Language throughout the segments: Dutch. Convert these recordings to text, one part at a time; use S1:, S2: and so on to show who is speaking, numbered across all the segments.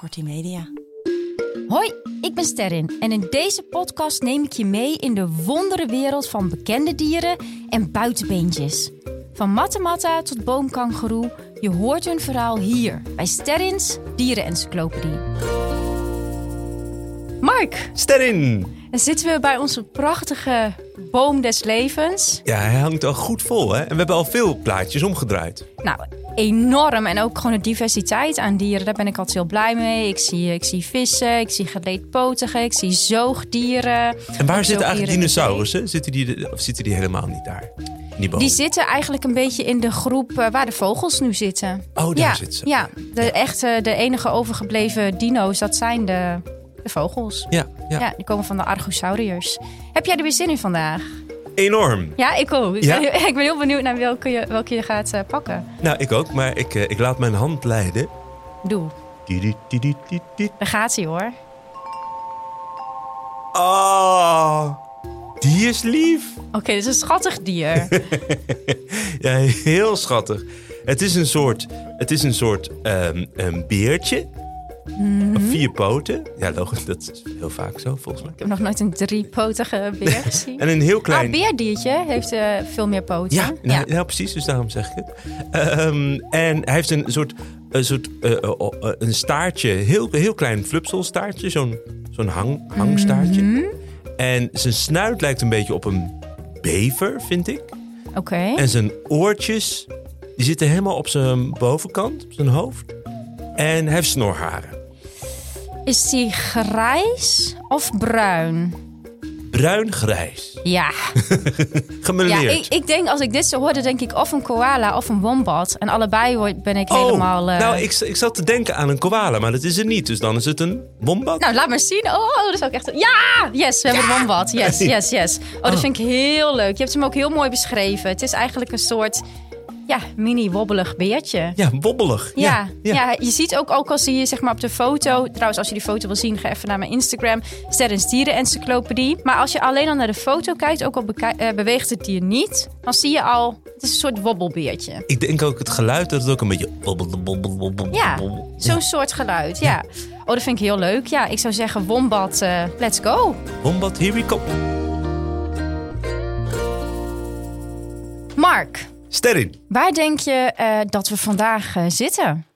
S1: Multimedia.
S2: Hoi, ik ben Sterrin en in deze podcast neem ik je mee in de wondere wereld van bekende dieren en buitenbeentjes. Van mattematta tot boomkangeroe, je hoort hun verhaal hier bij Sterrins Dierenencyclopedie. Mark,
S3: Sterrin!
S2: dan zitten we bij onze prachtige boom des levens.
S3: Ja, hij hangt al goed vol, hè? En we hebben al veel plaatjes omgedraaid.
S2: Nou, enorm. En ook gewoon de diversiteit aan dieren. Daar ben ik altijd heel blij mee. Ik zie, ik zie vissen, ik zie geleedpotigen, ik zie zoogdieren.
S3: En waar
S2: Ook
S3: zitten eigenlijk
S2: zoogdieren in de zee.
S3: dinosaurussen? Zitten die, of zitten die helemaal niet daar? In Die boom?
S2: Die zitten eigenlijk een beetje in de groep eh, waar de vogels nu zitten.
S3: Oh, daar
S2: ja,
S3: zitten ze.
S2: Ja, de,
S3: Ja.
S2: Echte, de enige overgebleven dino's, dat zijn de, de vogels.
S3: Ja, ja.
S2: Ja. die komen van de Argusauriërs. Heb jij er weer zin in vandaag?
S3: enorm.
S2: Ja, ik ook.
S3: Ja?
S2: Ik ben heel benieuwd naar welke je, welke je gaat eh, pakken.
S3: Nou, ik ook, maar ik, eh, ik laat mijn hand leiden.
S2: Doe,
S3: Didididididid.
S2: daar gaat hij hoor.
S3: Oh, die is lief.
S2: Oké, dit is een schattig dier.
S3: Ja, heel schattig. Het is een soort, het is een soort ehm, een beertje.
S2: Mhm.
S3: Of Vier poten. Ja, logisch, dat is heel vaak zo, volgens mij.
S2: Ik heb nog nooit een driepotige beer gezien.
S3: En een heel klein...
S2: Ah, beerdiertje heeft eh, veel meer poten.
S3: Ja, nou, ja, precies. Dus daarom zeg ik het. Ehm, en hij heeft een soort, een, soort eh, eh, oh, eh, een staartje, heel, heel klein flupselstaartje, zo'n zo'n hang, hangstaartje.
S2: Mhm.
S3: En zijn snuit lijkt een beetje op een bever, vind ik.
S2: Oké.
S3: En zijn oortjes, die zitten helemaal op zijn bovenkant, op zijn hoofd. En hij heeft snorharen.
S2: Is die grijs of bruin?
S3: Bruin-grijs.
S2: Ja, ja
S3: Gemeleerd.
S2: ik, ik denk als ik dit zo hoor, dan denk ik of een koala of een wombat. En allebei word- ben ik
S3: Oh,
S2: helemaal... eh,
S3: nou, ik, ik zat te denken aan een koala, maar dat is het niet. Dus dan is het een wombat.
S2: Nou, laat maar zien. Oh, dat is ook echt... Ja! Yes, we hebben een wombat. Yes, yes, yes. Oh, dat vind ik heel leuk. Je hebt hem ook heel mooi beschreven. Het is eigenlijk een soort ja, mini-wobbelig beertje.
S3: Ja, wobbelig.
S2: Ja, ja. je ziet ook, ook als je zeg maar op de foto... Trouwens, als je die foto wil zien, ga even naar mijn Instagram. Sterrens Dierenencyclopedie. Maar als je alleen al naar de foto kijkt, ook al beki- eh, beweegt het dier niet... dan zie je al, het is een soort wobbelbeertje.
S3: Ik denk ook het geluid dat het ook een beetje. bobbel, bobbel, bobbel, bobbel,
S2: Ja,
S3: bobbel.
S2: zo'n soort geluid, ja. Oh, dat vind ik heel leuk. Ja, ik zou zeggen, wombat, eh, let's go.
S3: Wombat, here we come.
S2: Mark,
S3: Sterrin.
S2: waar denk je eh, dat we vandaag eh, zitten?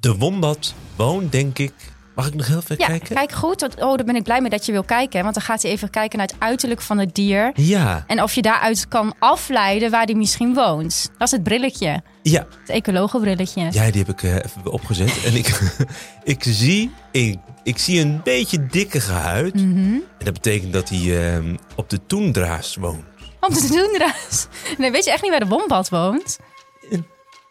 S3: De wombat woont, denk ik. Mag ik nog heel even
S2: Ja,
S3: kijken?
S2: kijk goed. want- Oh, daar ben ik blij mee dat je wil kijken. Want dan gaat hij even kijken naar het uiterlijk van het dier...
S3: Ja,
S2: En of je daaruit kan afleiden waar hij misschien woont. Dat is het brilletje.
S3: ja.
S2: Het ecologenbrilletje.
S3: ja, die heb ik eh, even opgezet. en ik, ik, zie, ik, ik zie een beetje dikkige huid.
S2: Mhm.
S3: En dat betekent dat hij eh, op de Toendra's woont.
S2: Om te doen inderdaad. Nee, weet je echt niet waar de wombat woont?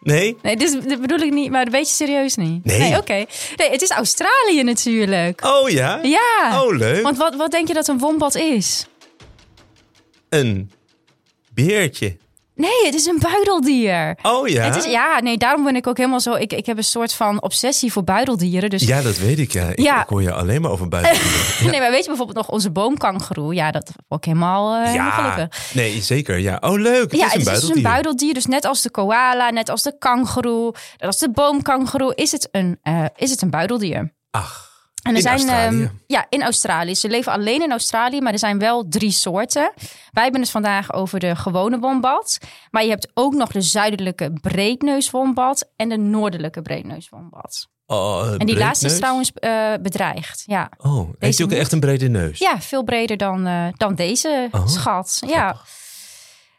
S3: Nee?
S2: Nee, dit, is- dit bedoel ik niet, maar dat weet je serieus niet.
S3: Nee.
S2: oké. Nee, het is Australië natuurlijk.
S3: Oh ja?
S2: Ja.
S3: Oh, leuk.
S2: Want wat, wat denk je dat een wombat is?
S3: Een beertje.
S2: Nee, het is een buideldier.
S3: Oh ja?
S2: Het is, ja, nee, daarom ben ik ook helemaal zo... Ik, ik heb een soort van obsessie voor buideldieren. Dus
S3: Ja, dat weet ik. Ja. Ik,
S2: Ja.
S3: ik hoor je alleen maar over buiten.
S2: Nee, maar weet je bijvoorbeeld nog onze boomkangeroe? Ja, dat vond ik helemaal, eh, helemaal gelukkig.
S3: nee, zeker. Ja. Oh, leuk. Het
S2: ja,
S3: is
S2: het
S3: een
S2: is dus een
S3: buideldier.
S2: buideldier. Dus net als de koala, net als de kangeroe, net als de boomkangeroe, is het een, eh, is het een buideldier.
S3: Ach.
S2: En
S3: In Australië.
S2: ehm, ja, in Australië. Ze leven alleen in Australië, maar er zijn wel drie soorten. Wij hebben het vandaag over de gewone wombat. Maar je hebt ook nog de zuidelijke breedneuswombat en de noordelijke breedneuswombat.
S3: Oh,
S2: En die laatste is trouwens eh, bedreigd. Ja.
S3: Oh, heeft
S2: Deze
S3: hij ook
S2: niet.
S3: echt een brede neus?
S2: Ja, veel breder dan, eh, dan deze
S3: Oh,
S2: schat. Ja.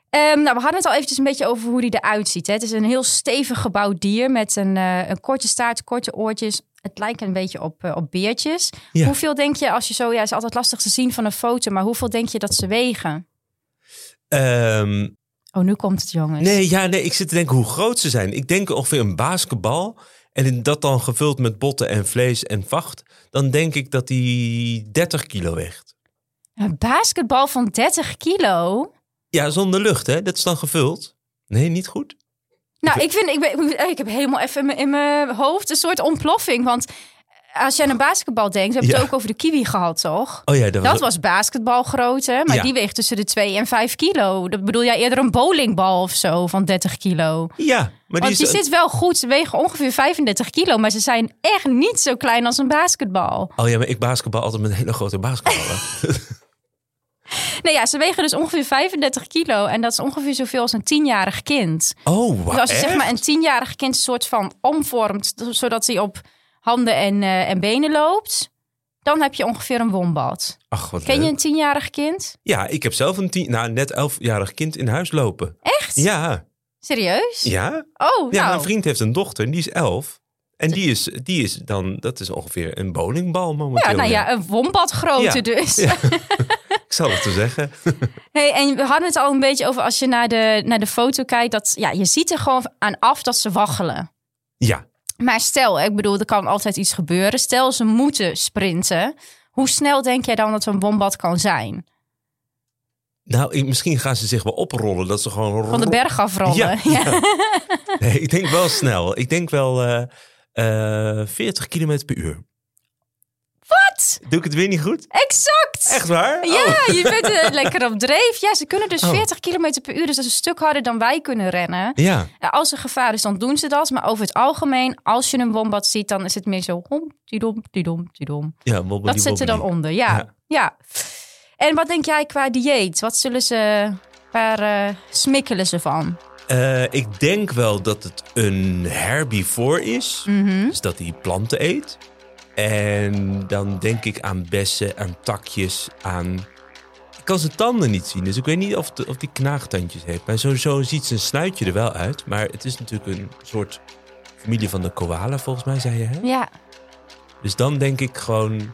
S2: Ehm, nou, we hadden het al eventjes een beetje over hoe die eruit ziet. Hè. Het is een heel stevig gebouwd dier met een, eh, een korte staart, korte oortjes. Het lijkt een beetje op, eh, op beertjes.
S3: Ja.
S2: Hoeveel denk je, als je zo, ja, is altijd lastig te zien van een foto, maar hoeveel denk je dat ze wegen?
S3: Ehm,
S2: Oh, nu komt het, jongens.
S3: nee, ja, nee, ik zit te denken hoe groot ze zijn. Ik denk ongeveer een basketbal. En dat dan gevuld met botten en vlees en vacht. Dan denk ik dat die 30 kilo weegt.
S2: Een basketbal van 30 kilo.
S3: Ja, zonder lucht, hè? Dat is dan gevuld. Nee, niet goed.
S2: Nou, ik vind, ik, ben, ik heb helemaal even in mijn- in mijn hoofd een soort ontploffing. Want als je aan een basketbal denkt, we hebben
S3: Ja.
S2: het ook over de kiwi gehad, toch?
S3: Oh ja, dat was,
S2: Dat was basketbalgrootte, maar
S3: Ja.
S2: die weegt tussen de 2 en 5 kilo. Dat bedoel jij eerder een bowlingbal of zo van 30 kilo.
S3: Ja, maar die
S2: Want
S3: is,
S2: Oh, die, zit wel goed, ze wegen ongeveer 35 kilo, maar ze zijn echt niet zo klein als een basketbal.
S3: Oh ja, maar ik basketbal altijd met hele grote basketballen.
S2: Dus Nee, ja, ze wegen dus ongeveer 35 kilo en dat is ongeveer zoveel als een 10-jarig kind.
S3: oh,
S2: Dus
S3: wauw.
S2: als je zeg
S3: echt?
S2: maar een tienjarig kind een soort van omvormt, t- zodat hij op handen en, eh, en benen loopt, dan heb je ongeveer een wombat.
S3: Ach, wat
S2: Ken je
S3: leuk.
S2: een tienjarig kind?
S3: Ja, ik heb zelf een tien, nou, net elfjarig kind in huis lopen.
S2: Echt?
S3: Ja,
S2: Serieus?
S3: ja.
S2: Oh,
S3: Ja,
S2: nou.
S3: mijn vriend heeft een dochter, en die is elf. En die is, die is dan, dat is ongeveer een bowlingbal momenteel.
S2: ja, nou ja, een wombatgrootte
S3: Ja.
S2: dus.
S3: Ja. Ik zal het te zeggen.
S2: Hey, en we hadden het al een beetje over als je naar de, naar de foto kijkt, dat ja, je ziet er gewoon aan af dat ze waggelen.
S3: Ja,
S2: Maar stel, ik bedoel, er kan altijd iets gebeuren. Stel, ze moeten sprinten. Hoe snel denk jij dan dat een wombat kan zijn?
S3: nou, ik- misschien gaan ze zich wel oprollen. Dat ze gewoon...
S2: Van de berg afrollen.
S3: Ja, Nee, ik denk wel snel. Ik denk wel eh, eh, 40 km per uur.
S2: Wat?
S3: Doe ik het weer niet goed?
S2: Exact!
S3: Echt waar? Oh.
S2: Ja, je bent eh, lekker op dreef. Ja, ze kunnen dus
S3: Oh.
S2: 40 km per uur. Dus dat is een stuk harder dan wij kunnen rennen.
S3: Ja.
S2: Ja, als er gevaar is, dan doen ze dat. Maar over het algemeen, als je een wombat ziet, dan is het meer zo... Hom, die dom, die dom, die dom.
S3: ja wobbly,
S2: Dat zit er dan
S3: wobbly.
S2: onder, ja.
S3: Ja.
S2: ja. En wat denk jij qua dieet? Wat zullen ze... Waar eh, smikkelen ze van?
S3: Eh, ik denk wel dat het een herbivore is.
S2: Mhm.
S3: Dus dat hij planten eet. En dan denk ik aan bessen, aan takjes, aan... Ik kan zijn tanden niet zien, dus ik weet niet of, de- of die knaagtandjes heeft. Maar sowieso ziet zijn snuitje er wel uit. Maar het is natuurlijk een soort familie van de koala, volgens mij, zei je. Hè?
S2: Ja.
S3: Dus dan denk ik gewoon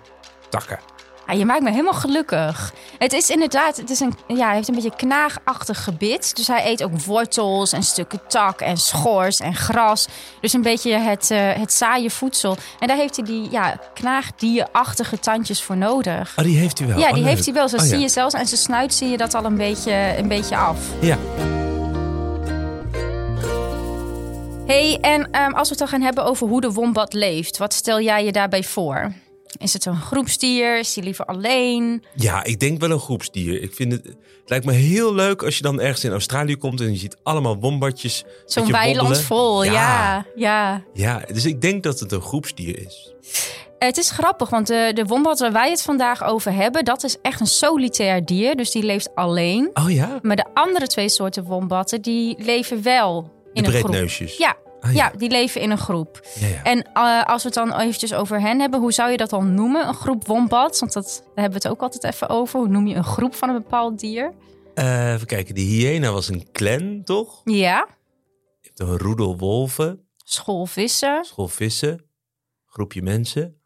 S3: takken.
S2: Ja, Ah, je maakt me helemaal gelukkig. Het is inderdaad, het is een, ja, hij heeft een beetje knaagachtig gebit. Dus hij eet ook wortels en stukken tak en schors en gras. Dus een beetje het, eh, het saaie voedsel. En daar heeft hij die ja, knaagdierachtige tandjes voor nodig.
S3: Oh, die heeft hij wel.
S2: ja,
S3: Oh,
S2: die
S3: leuk.
S2: heeft hij wel. Zo
S3: Oh,
S2: zie
S3: ja.
S2: je zelfs en zijn snuit zie je dat al een beetje, een beetje af.
S3: Ja.
S2: hey, en ehm, als we het dan gaan hebben over hoe de wombat leeft, wat stel jij je daarbij voor? Is het een groepsdier? Is hij liever alleen?
S3: Ja, ik denk wel een groepsdier. Ik vind het, het lijkt me heel leuk als je dan ergens in Australië komt en je ziet allemaal wombatjes. met
S2: Zo'n
S3: je
S2: weiland
S3: wobbelen.
S2: vol, ja, ja.
S3: Ja, dus ik denk dat het een groepsdier is.
S2: Het is grappig, want de, de wombat waar wij het vandaag over hebben, dat is echt een solitair dier. Dus die leeft alleen.
S3: Oh ja?
S2: Maar de andere twee soorten wombatten, die leven wel
S3: De
S2: in een groep.
S3: breedneusjes.
S2: Ja,
S3: Ah,
S2: ja,
S3: ja.
S2: die leven in een groep.
S3: Ja, ja.
S2: En eh, als we het dan eventjes over hen hebben, hoe zou je dat dan noemen? Een groep wombats, want dat, daar hebben we het ook altijd even over. Hoe noem je een groep van een bepaald dier?
S3: Eh, even kijken, die hyena was een clan, toch?
S2: Ja,
S3: Je hebt een roedel wolven,
S2: schoolvissen.
S3: school vissen, groepje mensen.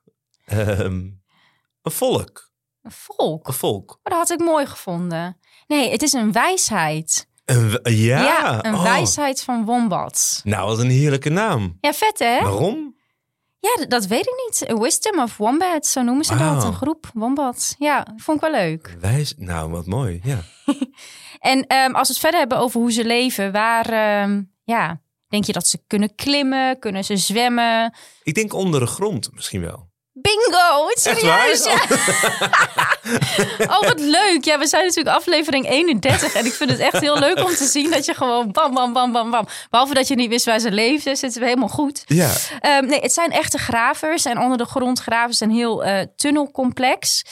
S3: Ehm, een volk,
S2: Een volk.
S3: een volk.
S2: Oh, dat had ik mooi gevonden. Nee, het is een wijsheid.
S3: Een w- ja,
S2: een
S3: oh.
S2: wijsheid van wombats.
S3: Nou, wat een heerlijke naam.
S2: Ja, vet hè?
S3: Waarom?
S2: Ja, d- dat weet ik niet. Wisdom of Wombat, zo noemen ze dat.
S3: Wauw.
S2: Een groep, Wombat. Ja, vond ik wel leuk.
S3: Wijs, nou, wat mooi, ja.
S2: En ehm, als we het verder hebben over hoe ze leven, waar ehm, ja, denk je dat ze kunnen klimmen? Kunnen ze zwemmen?
S3: Ik denk onder de grond misschien wel.
S2: Bingo! Het is
S3: Echt waar?
S2: serieus! Ja. Oh, wat leuk! Ja, we zijn natuurlijk aflevering 31 en ik vind het echt heel leuk om te zien dat je gewoon bam, bam, bam, bam, bam. Behalve dat je niet wist waar ze leefden, zitten we helemaal goed.
S3: Ja.
S2: Ehm, nee, het zijn echte gravers. En onder de grond graven ze een heel eh, tunnelcomplex.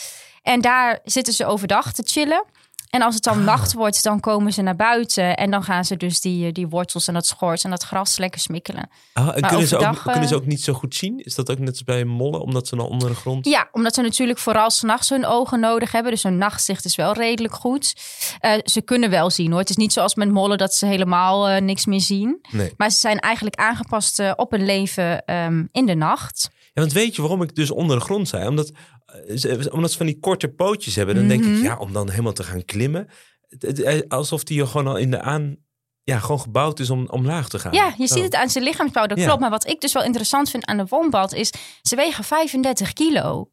S2: En daar zitten ze overdag te chillen. En als het dan nacht wordt, dan komen ze naar buiten. En dan gaan ze dus die, eh, die wortels en dat schors en dat gras lekker smikkelen.
S3: Ah, en kunnen, ze ook,
S2: overdag, eh,
S3: kunnen ze ook niet zo goed zien? Is dat ook net als bij mollen, omdat ze dan onder de grond...
S2: Ja, omdat ze natuurlijk vooral s'nachts hun ogen nodig hebben. Dus hun nachtzicht is wel redelijk goed. Eh, ze kunnen wel zien hoor. Het is niet zoals met mollen dat ze helemaal eh, niks meer zien.
S3: Nee.
S2: Maar ze zijn eigenlijk aangepast eh, op een leven ehm, in de nacht.
S3: Ja, want weet je waarom ik dus onder de grond zei? Omdat, eh, ze- omdat ze van die korte pootjes hebben. Dan denk
S2: Mhm.
S3: ik, ja, om dan helemaal te gaan klimmen. Het- het- eh, Alsof die er gewoon al in de aan... Ja, gewoon gebouwd is om omlaag te gaan. Oh.
S2: Ja, je
S3: Zo.
S2: ziet het aan zijn lichaamsbouw, dat
S3: Ja.
S2: klopt. Maar wat ik dus wel interessant vind aan de wombat is, ze wegen 35 kilo.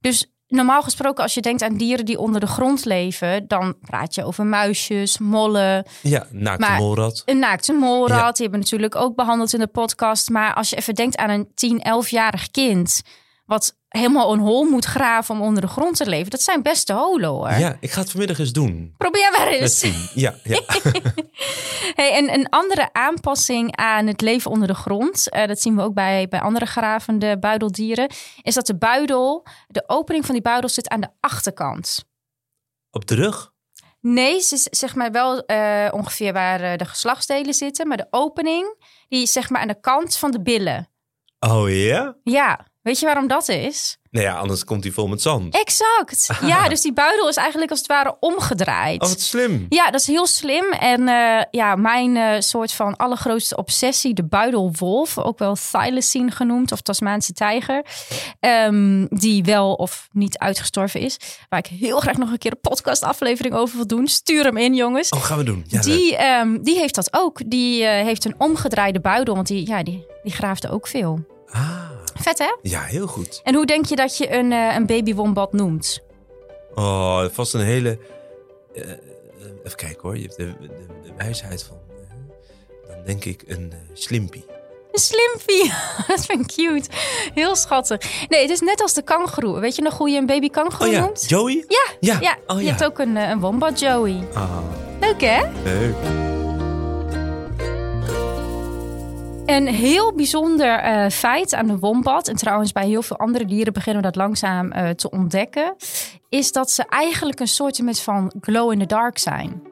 S2: Dus normaal gesproken, als je denkt aan dieren die onder de grond leven, dan praat je over muisjes, mollen,
S3: Ja, naakte
S2: Maar-
S3: molrad.
S2: een naakte molrat.
S3: Ja.
S2: Die hebben we natuurlijk ook behandeld in de podcast. Maar als je even denkt aan een 10, 11-jarig kind, wat helemaal een hol moet graven om onder de grond te leven. Dat zijn beste holen hoor. Dus-
S3: Ja, ik ga het vanmiddag eens doen.
S2: Probeer maar
S3: Met
S2: eens.
S3: zien. Ja, ja.
S2: Hey, en een andere aanpassing aan het leven onder de grond, eh, dat zien we ook bij, bij andere gravende buideldieren, is dat de buidel, de opening van die buidel zit aan de achterkant.
S3: Op de rug?
S2: Nee, ze, zeg maar wel eh, ongeveer waar eh, de geslachtsdelen zitten, maar de opening, die is zeg maar aan de kant van de billen.
S3: Oh ja?
S2: Ja, weet je waarom dat is?
S3: Nou ja, anders komt hij vol met zand.
S2: Exact. Ja, dus die buidel is eigenlijk als het ware omgedraaid.
S3: Oh, wat slim.
S2: Ja, dat is heel slim. En eh, ja, mijn eh, soort van allergrootste obsessie, de buidelwolf, ook wel thylacine genoemd of Tasmaanse tijger, ehm, die wel of niet uitgestorven is, waar ik heel graag nog een keer een podcastaflevering over wil doen. Stuur hem in, jongens.
S3: Oh, gaan we doen. Ja, leuk.
S2: die, ehm, die heeft dat ook. Die eh, heeft een omgedraaide buidel, want die, ja, die, die graaft ook veel.
S3: Ah,
S2: Vet, hè?
S3: ja, heel goed.
S2: En hoe denk je dat je een, eh, een babywombat noemt?
S3: Oh, vast een hele... eh, eh, even kijken hoor. Je hebt de, de, de wijsheid van... eh, dan denk ik een eh, slimpie.
S2: Een slimpie. Dat vind ik cute. Heel schattig. Nee, het is net als de kangoeroe. Weet je nog hoe je een baby kangoeroe
S3: Oh ja,
S2: noemt?
S3: Joey?
S2: Ja,
S3: Ja.
S2: ja.
S3: Oh,
S2: je
S3: ja.
S2: hebt ook een, eh, een wombat, Joey.
S3: Ah,
S2: Leuk, hè?
S3: leuk.
S2: Een heel bijzonder eh, feit aan de wombat... en trouwens bij heel veel andere dieren beginnen we dat langzaam eh, te ontdekken... is dat ze eigenlijk een soort met van glow-in-the-dark zijn.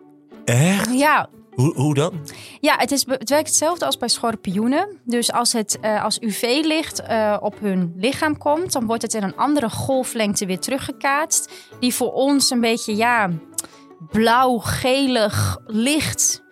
S3: Echt?
S2: Ja,
S3: Hoe, hoe dan?
S2: Ja, het, is, het werkt hetzelfde als bij schorpioenen. Dus als, het, eh, als UV-licht eh, op hun lichaam komt, dan wordt het in een andere golflengte weer teruggekaatst. Die voor ons een beetje, ja, blauw-gelig licht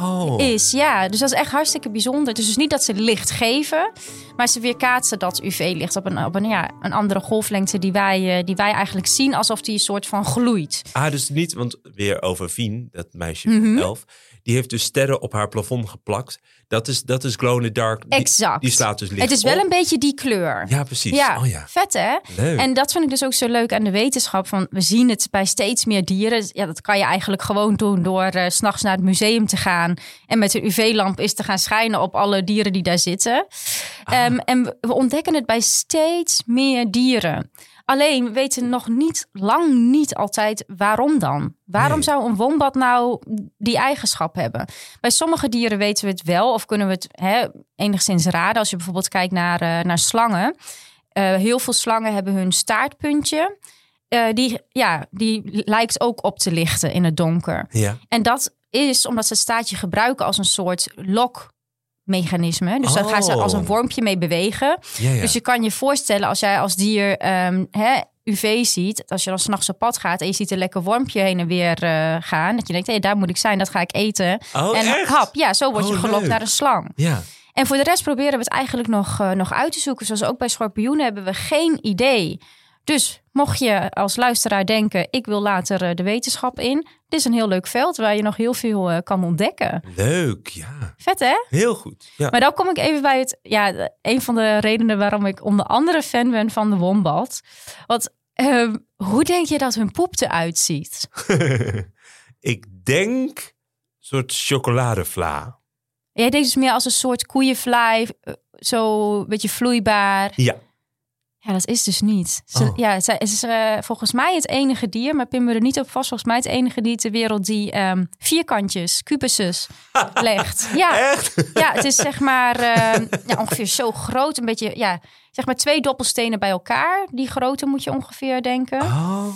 S3: Oh.
S2: is. Ja, dus dat is echt hartstikke bijzonder. Het is dus niet dat ze licht geven, maar ze weerkaatsen dat UV-licht op, een, op een, ja, een andere golflengte die wij, eh, die wij eigenlijk zien, alsof die een soort van gloeit.
S3: Ah, dus niet, want weer over Vien, dat meisje
S2: Mhm.
S3: van elf. Die heeft dus sterren op haar plafond geplakt. Dat is, dat is glow in the dark. Die,
S2: Exact.
S3: die slaat dus licht
S2: het is wel
S3: op.
S2: een beetje die kleur.
S3: Ja, precies.
S2: Ja,
S3: Oh ja,
S2: vet hè?
S3: leuk.
S2: En dat vind ik dus ook zo leuk aan de wetenschap. Van we zien het bij steeds meer dieren. Ja, dat kan je eigenlijk gewoon doen door eh, 's s'nachts naar het museum te gaan. En met een UV-lamp is te gaan schijnen op alle dieren die daar zitten. Ehm, en we- we ontdekken het bij steeds meer dieren. Alleen we weten nog niet, lang niet altijd waarom dan. Waarom
S3: Nee.
S2: zou een wombat nou die eigenschap hebben? Bij sommige dieren weten we het wel of kunnen we het hè, enigszins raden. Als je bijvoorbeeld kijkt naar, eh, naar slangen. Eh, heel veel slangen hebben hun staartpuntje. Eh, die, ja, die lijkt ook op te lichten in het donker.
S3: ja.
S2: En dat is omdat ze het staartje gebruiken als een soort lokmechanisme. Dus daar gaan ze als een
S3: Oh.
S2: wormpje mee bewegen.
S3: Ja, ja.
S2: Dus je kan je voorstellen als jij als dier ehm, hè, UV ziet, als je dan s'nachts op pad gaat en je ziet een lekker wormpje heen en weer eh, gaan, dat je denkt, hé, daar moet ik zijn, dat ga ik eten.
S3: oh,
S2: en
S3: echt?
S2: hap, ja, zo word je
S3: Oh,
S2: gelokt
S3: leuk.
S2: naar een slang.
S3: Ja.
S2: En voor de rest proberen we het eigenlijk nog, eh, nog uit te zoeken. Zoals ook bij schorpioenen hebben we geen idee. Dus mocht je als luisteraar denken, ik wil later eh, de wetenschap in. Dit is een heel leuk veld waar je nog heel veel eh, kan ontdekken.
S3: Leuk, ja.
S2: Vet hè?
S3: Heel goed. Ja.
S2: Maar dan kom ik even bij het, ja, de- een van de redenen waarom ik onder andere fan ben van de wombat. Want ehm, hoe denk je dat hun poep eruit ziet?
S3: ik denk een soort chocoladevla.
S2: Jij denkt dus meer als een soort koeienvlaai, eh, zo een beetje vloeibaar.
S3: Ja.
S2: Ja, dat is dus niet. Ze-
S3: Oh.
S2: Ja, ze- het is eh, volgens mij het enige dier, maar pin me er niet op vast. Volgens mij het enige dier ter wereld die ehm, vierkantjes, cubuses legt. Ja.
S3: Echt?
S2: Ja, het is zeg maar eh, ja, ongeveer zo groot. Een beetje, ja, zeg maar twee doppelstenen bij elkaar. Die grootte moet je ongeveer denken.
S3: Oh.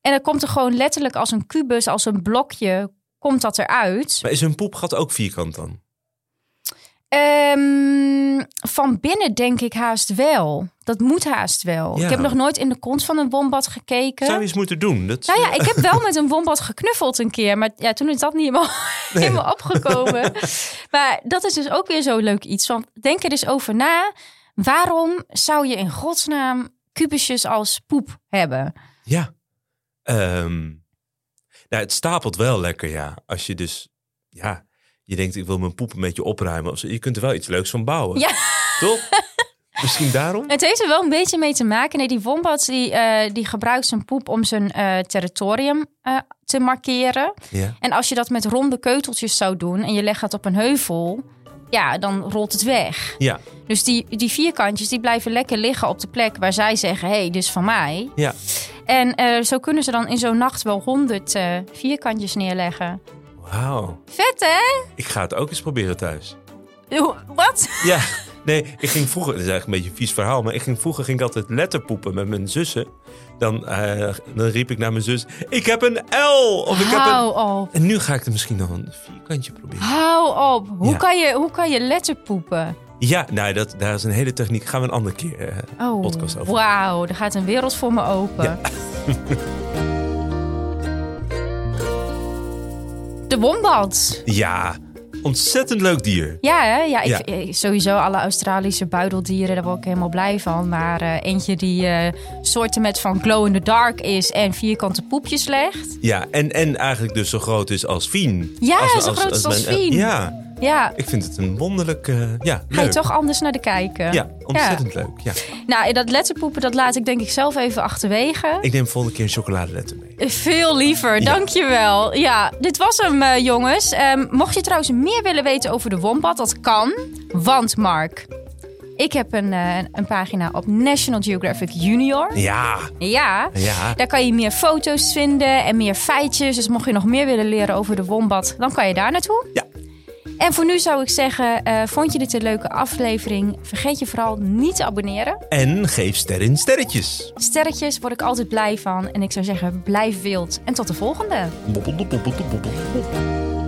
S2: En dan komt er gewoon letterlijk als een kubus, als een blokje, komt dat eruit.
S3: Maar is hun poepgat ook vierkant dan?
S2: Ehm, van binnen denk ik haast wel. Dat moet haast wel.
S3: Ja.
S2: Ik heb nog nooit in de kont van een wombat gekeken.
S3: Zou je eh, eens moeten doen? Dat,
S2: Nou ja, ik heb wel met een wombat geknuffeld een keer. Maar ja, toen is dat niet helemaal, helemaal opgekomen. Maar dat is dus ook weer zo leuk iets. Want denk er eens over na. Waarom zou je in godsnaam kubusjes als poep hebben?
S3: Ja. Ehm, nou, het stapelt wel lekker, ja. Als je dus, ja, je denkt ik wil mijn poep een beetje opruimen. Of zo. Je kunt er wel iets leuks van bouwen.
S2: Ja.
S3: Toch? Misschien daarom?
S2: Het heeft er wel een beetje mee te maken. Nee, die wombat die, eh, die gebruikt zijn poep om zijn eh, territorium eh, te markeren.
S3: Ja.
S2: En als je dat met ronde keuteltjes zou doen en je legt dat op een heuvel... ja, dan rolt het weg.
S3: Ja,
S2: Dus die, die vierkantjes die blijven lekker liggen op de plek waar zij zeggen: hé, hey, dit is van mij.
S3: ja.
S2: En eh, zo kunnen ze dan in zo'n nacht wel honderd eh, vierkantjes neerleggen.
S3: Wauw.
S2: Vet hè?
S3: Ik ga het ook eens proberen thuis.
S2: Hoe- Wat?
S3: Ja, nee, ik ging vroeger, dat is eigenlijk een beetje een vies verhaal, maar ik ging, vroeger ging ik altijd letterpoepen met mijn zussen. Dan, eh, dan riep ik naar mijn zus, ik heb een L! Of ik heb een...
S2: Hou op.
S3: En nu ga ik er misschien nog een vierkantje proberen.
S2: Hou op. Hoe,
S3: Ja.
S2: kan je, hoe kan je letterpoepen?
S3: Ja, nou, dat, daar is een hele techniek. Gaan we een andere keer. eh.
S2: Oh,
S3: Podcast over.
S2: wauw. Er gaat een wereld voor me open. De wombat.
S3: Ja, ontzettend leuk dier.
S2: Ja, hè? ja, ik,
S3: Ja.
S2: eh, sowieso alle Australische buideldieren, daar word ik helemaal blij van. Maar eh, eentje die eh, soorten met van glow in the dark is en vierkante poepjes legt.
S3: Ja, en, en eigenlijk dus zo groot is als Fien.
S2: Ja, zo groot is als Fien.
S3: eh, Ja,
S2: Ja,
S3: ik vind het een wonderlijk, eh, ja,
S2: ga je
S3: leuk.
S2: toch anders naar de kijken.
S3: Ja, ontzettend leuk. Ja.
S2: Nou, en dat letterpoepen, dat laat ik denk ik zelf even achterwege.
S3: Ik neem volgende keer een chocoladeletter mee.
S2: Veel liever, dankjewel. Ja, dit was hem, eh, jongens. Ehm, mocht je trouwens meer willen weten over de wombat, dat kan. Want, Mark, ik heb een, eh, een pagina op National Geographic Junior.
S3: Ja,
S2: Ja.
S3: ja.
S2: Daar kan je meer foto's vinden en meer feitjes. Dus mocht je nog meer willen leren over de wombat, dan kan je daar naartoe.
S3: Ja.
S2: En voor nu zou ik zeggen, eh, vond je dit een leuke aflevering? Vergeet je vooral niet te abonneren.
S3: En geef sterren sterretjes.
S2: Sterretjes word ik altijd blij van. En ik zou zeggen, blijf wild. En tot de volgende.
S3: Bobbelde, bobbelde, bobbelde.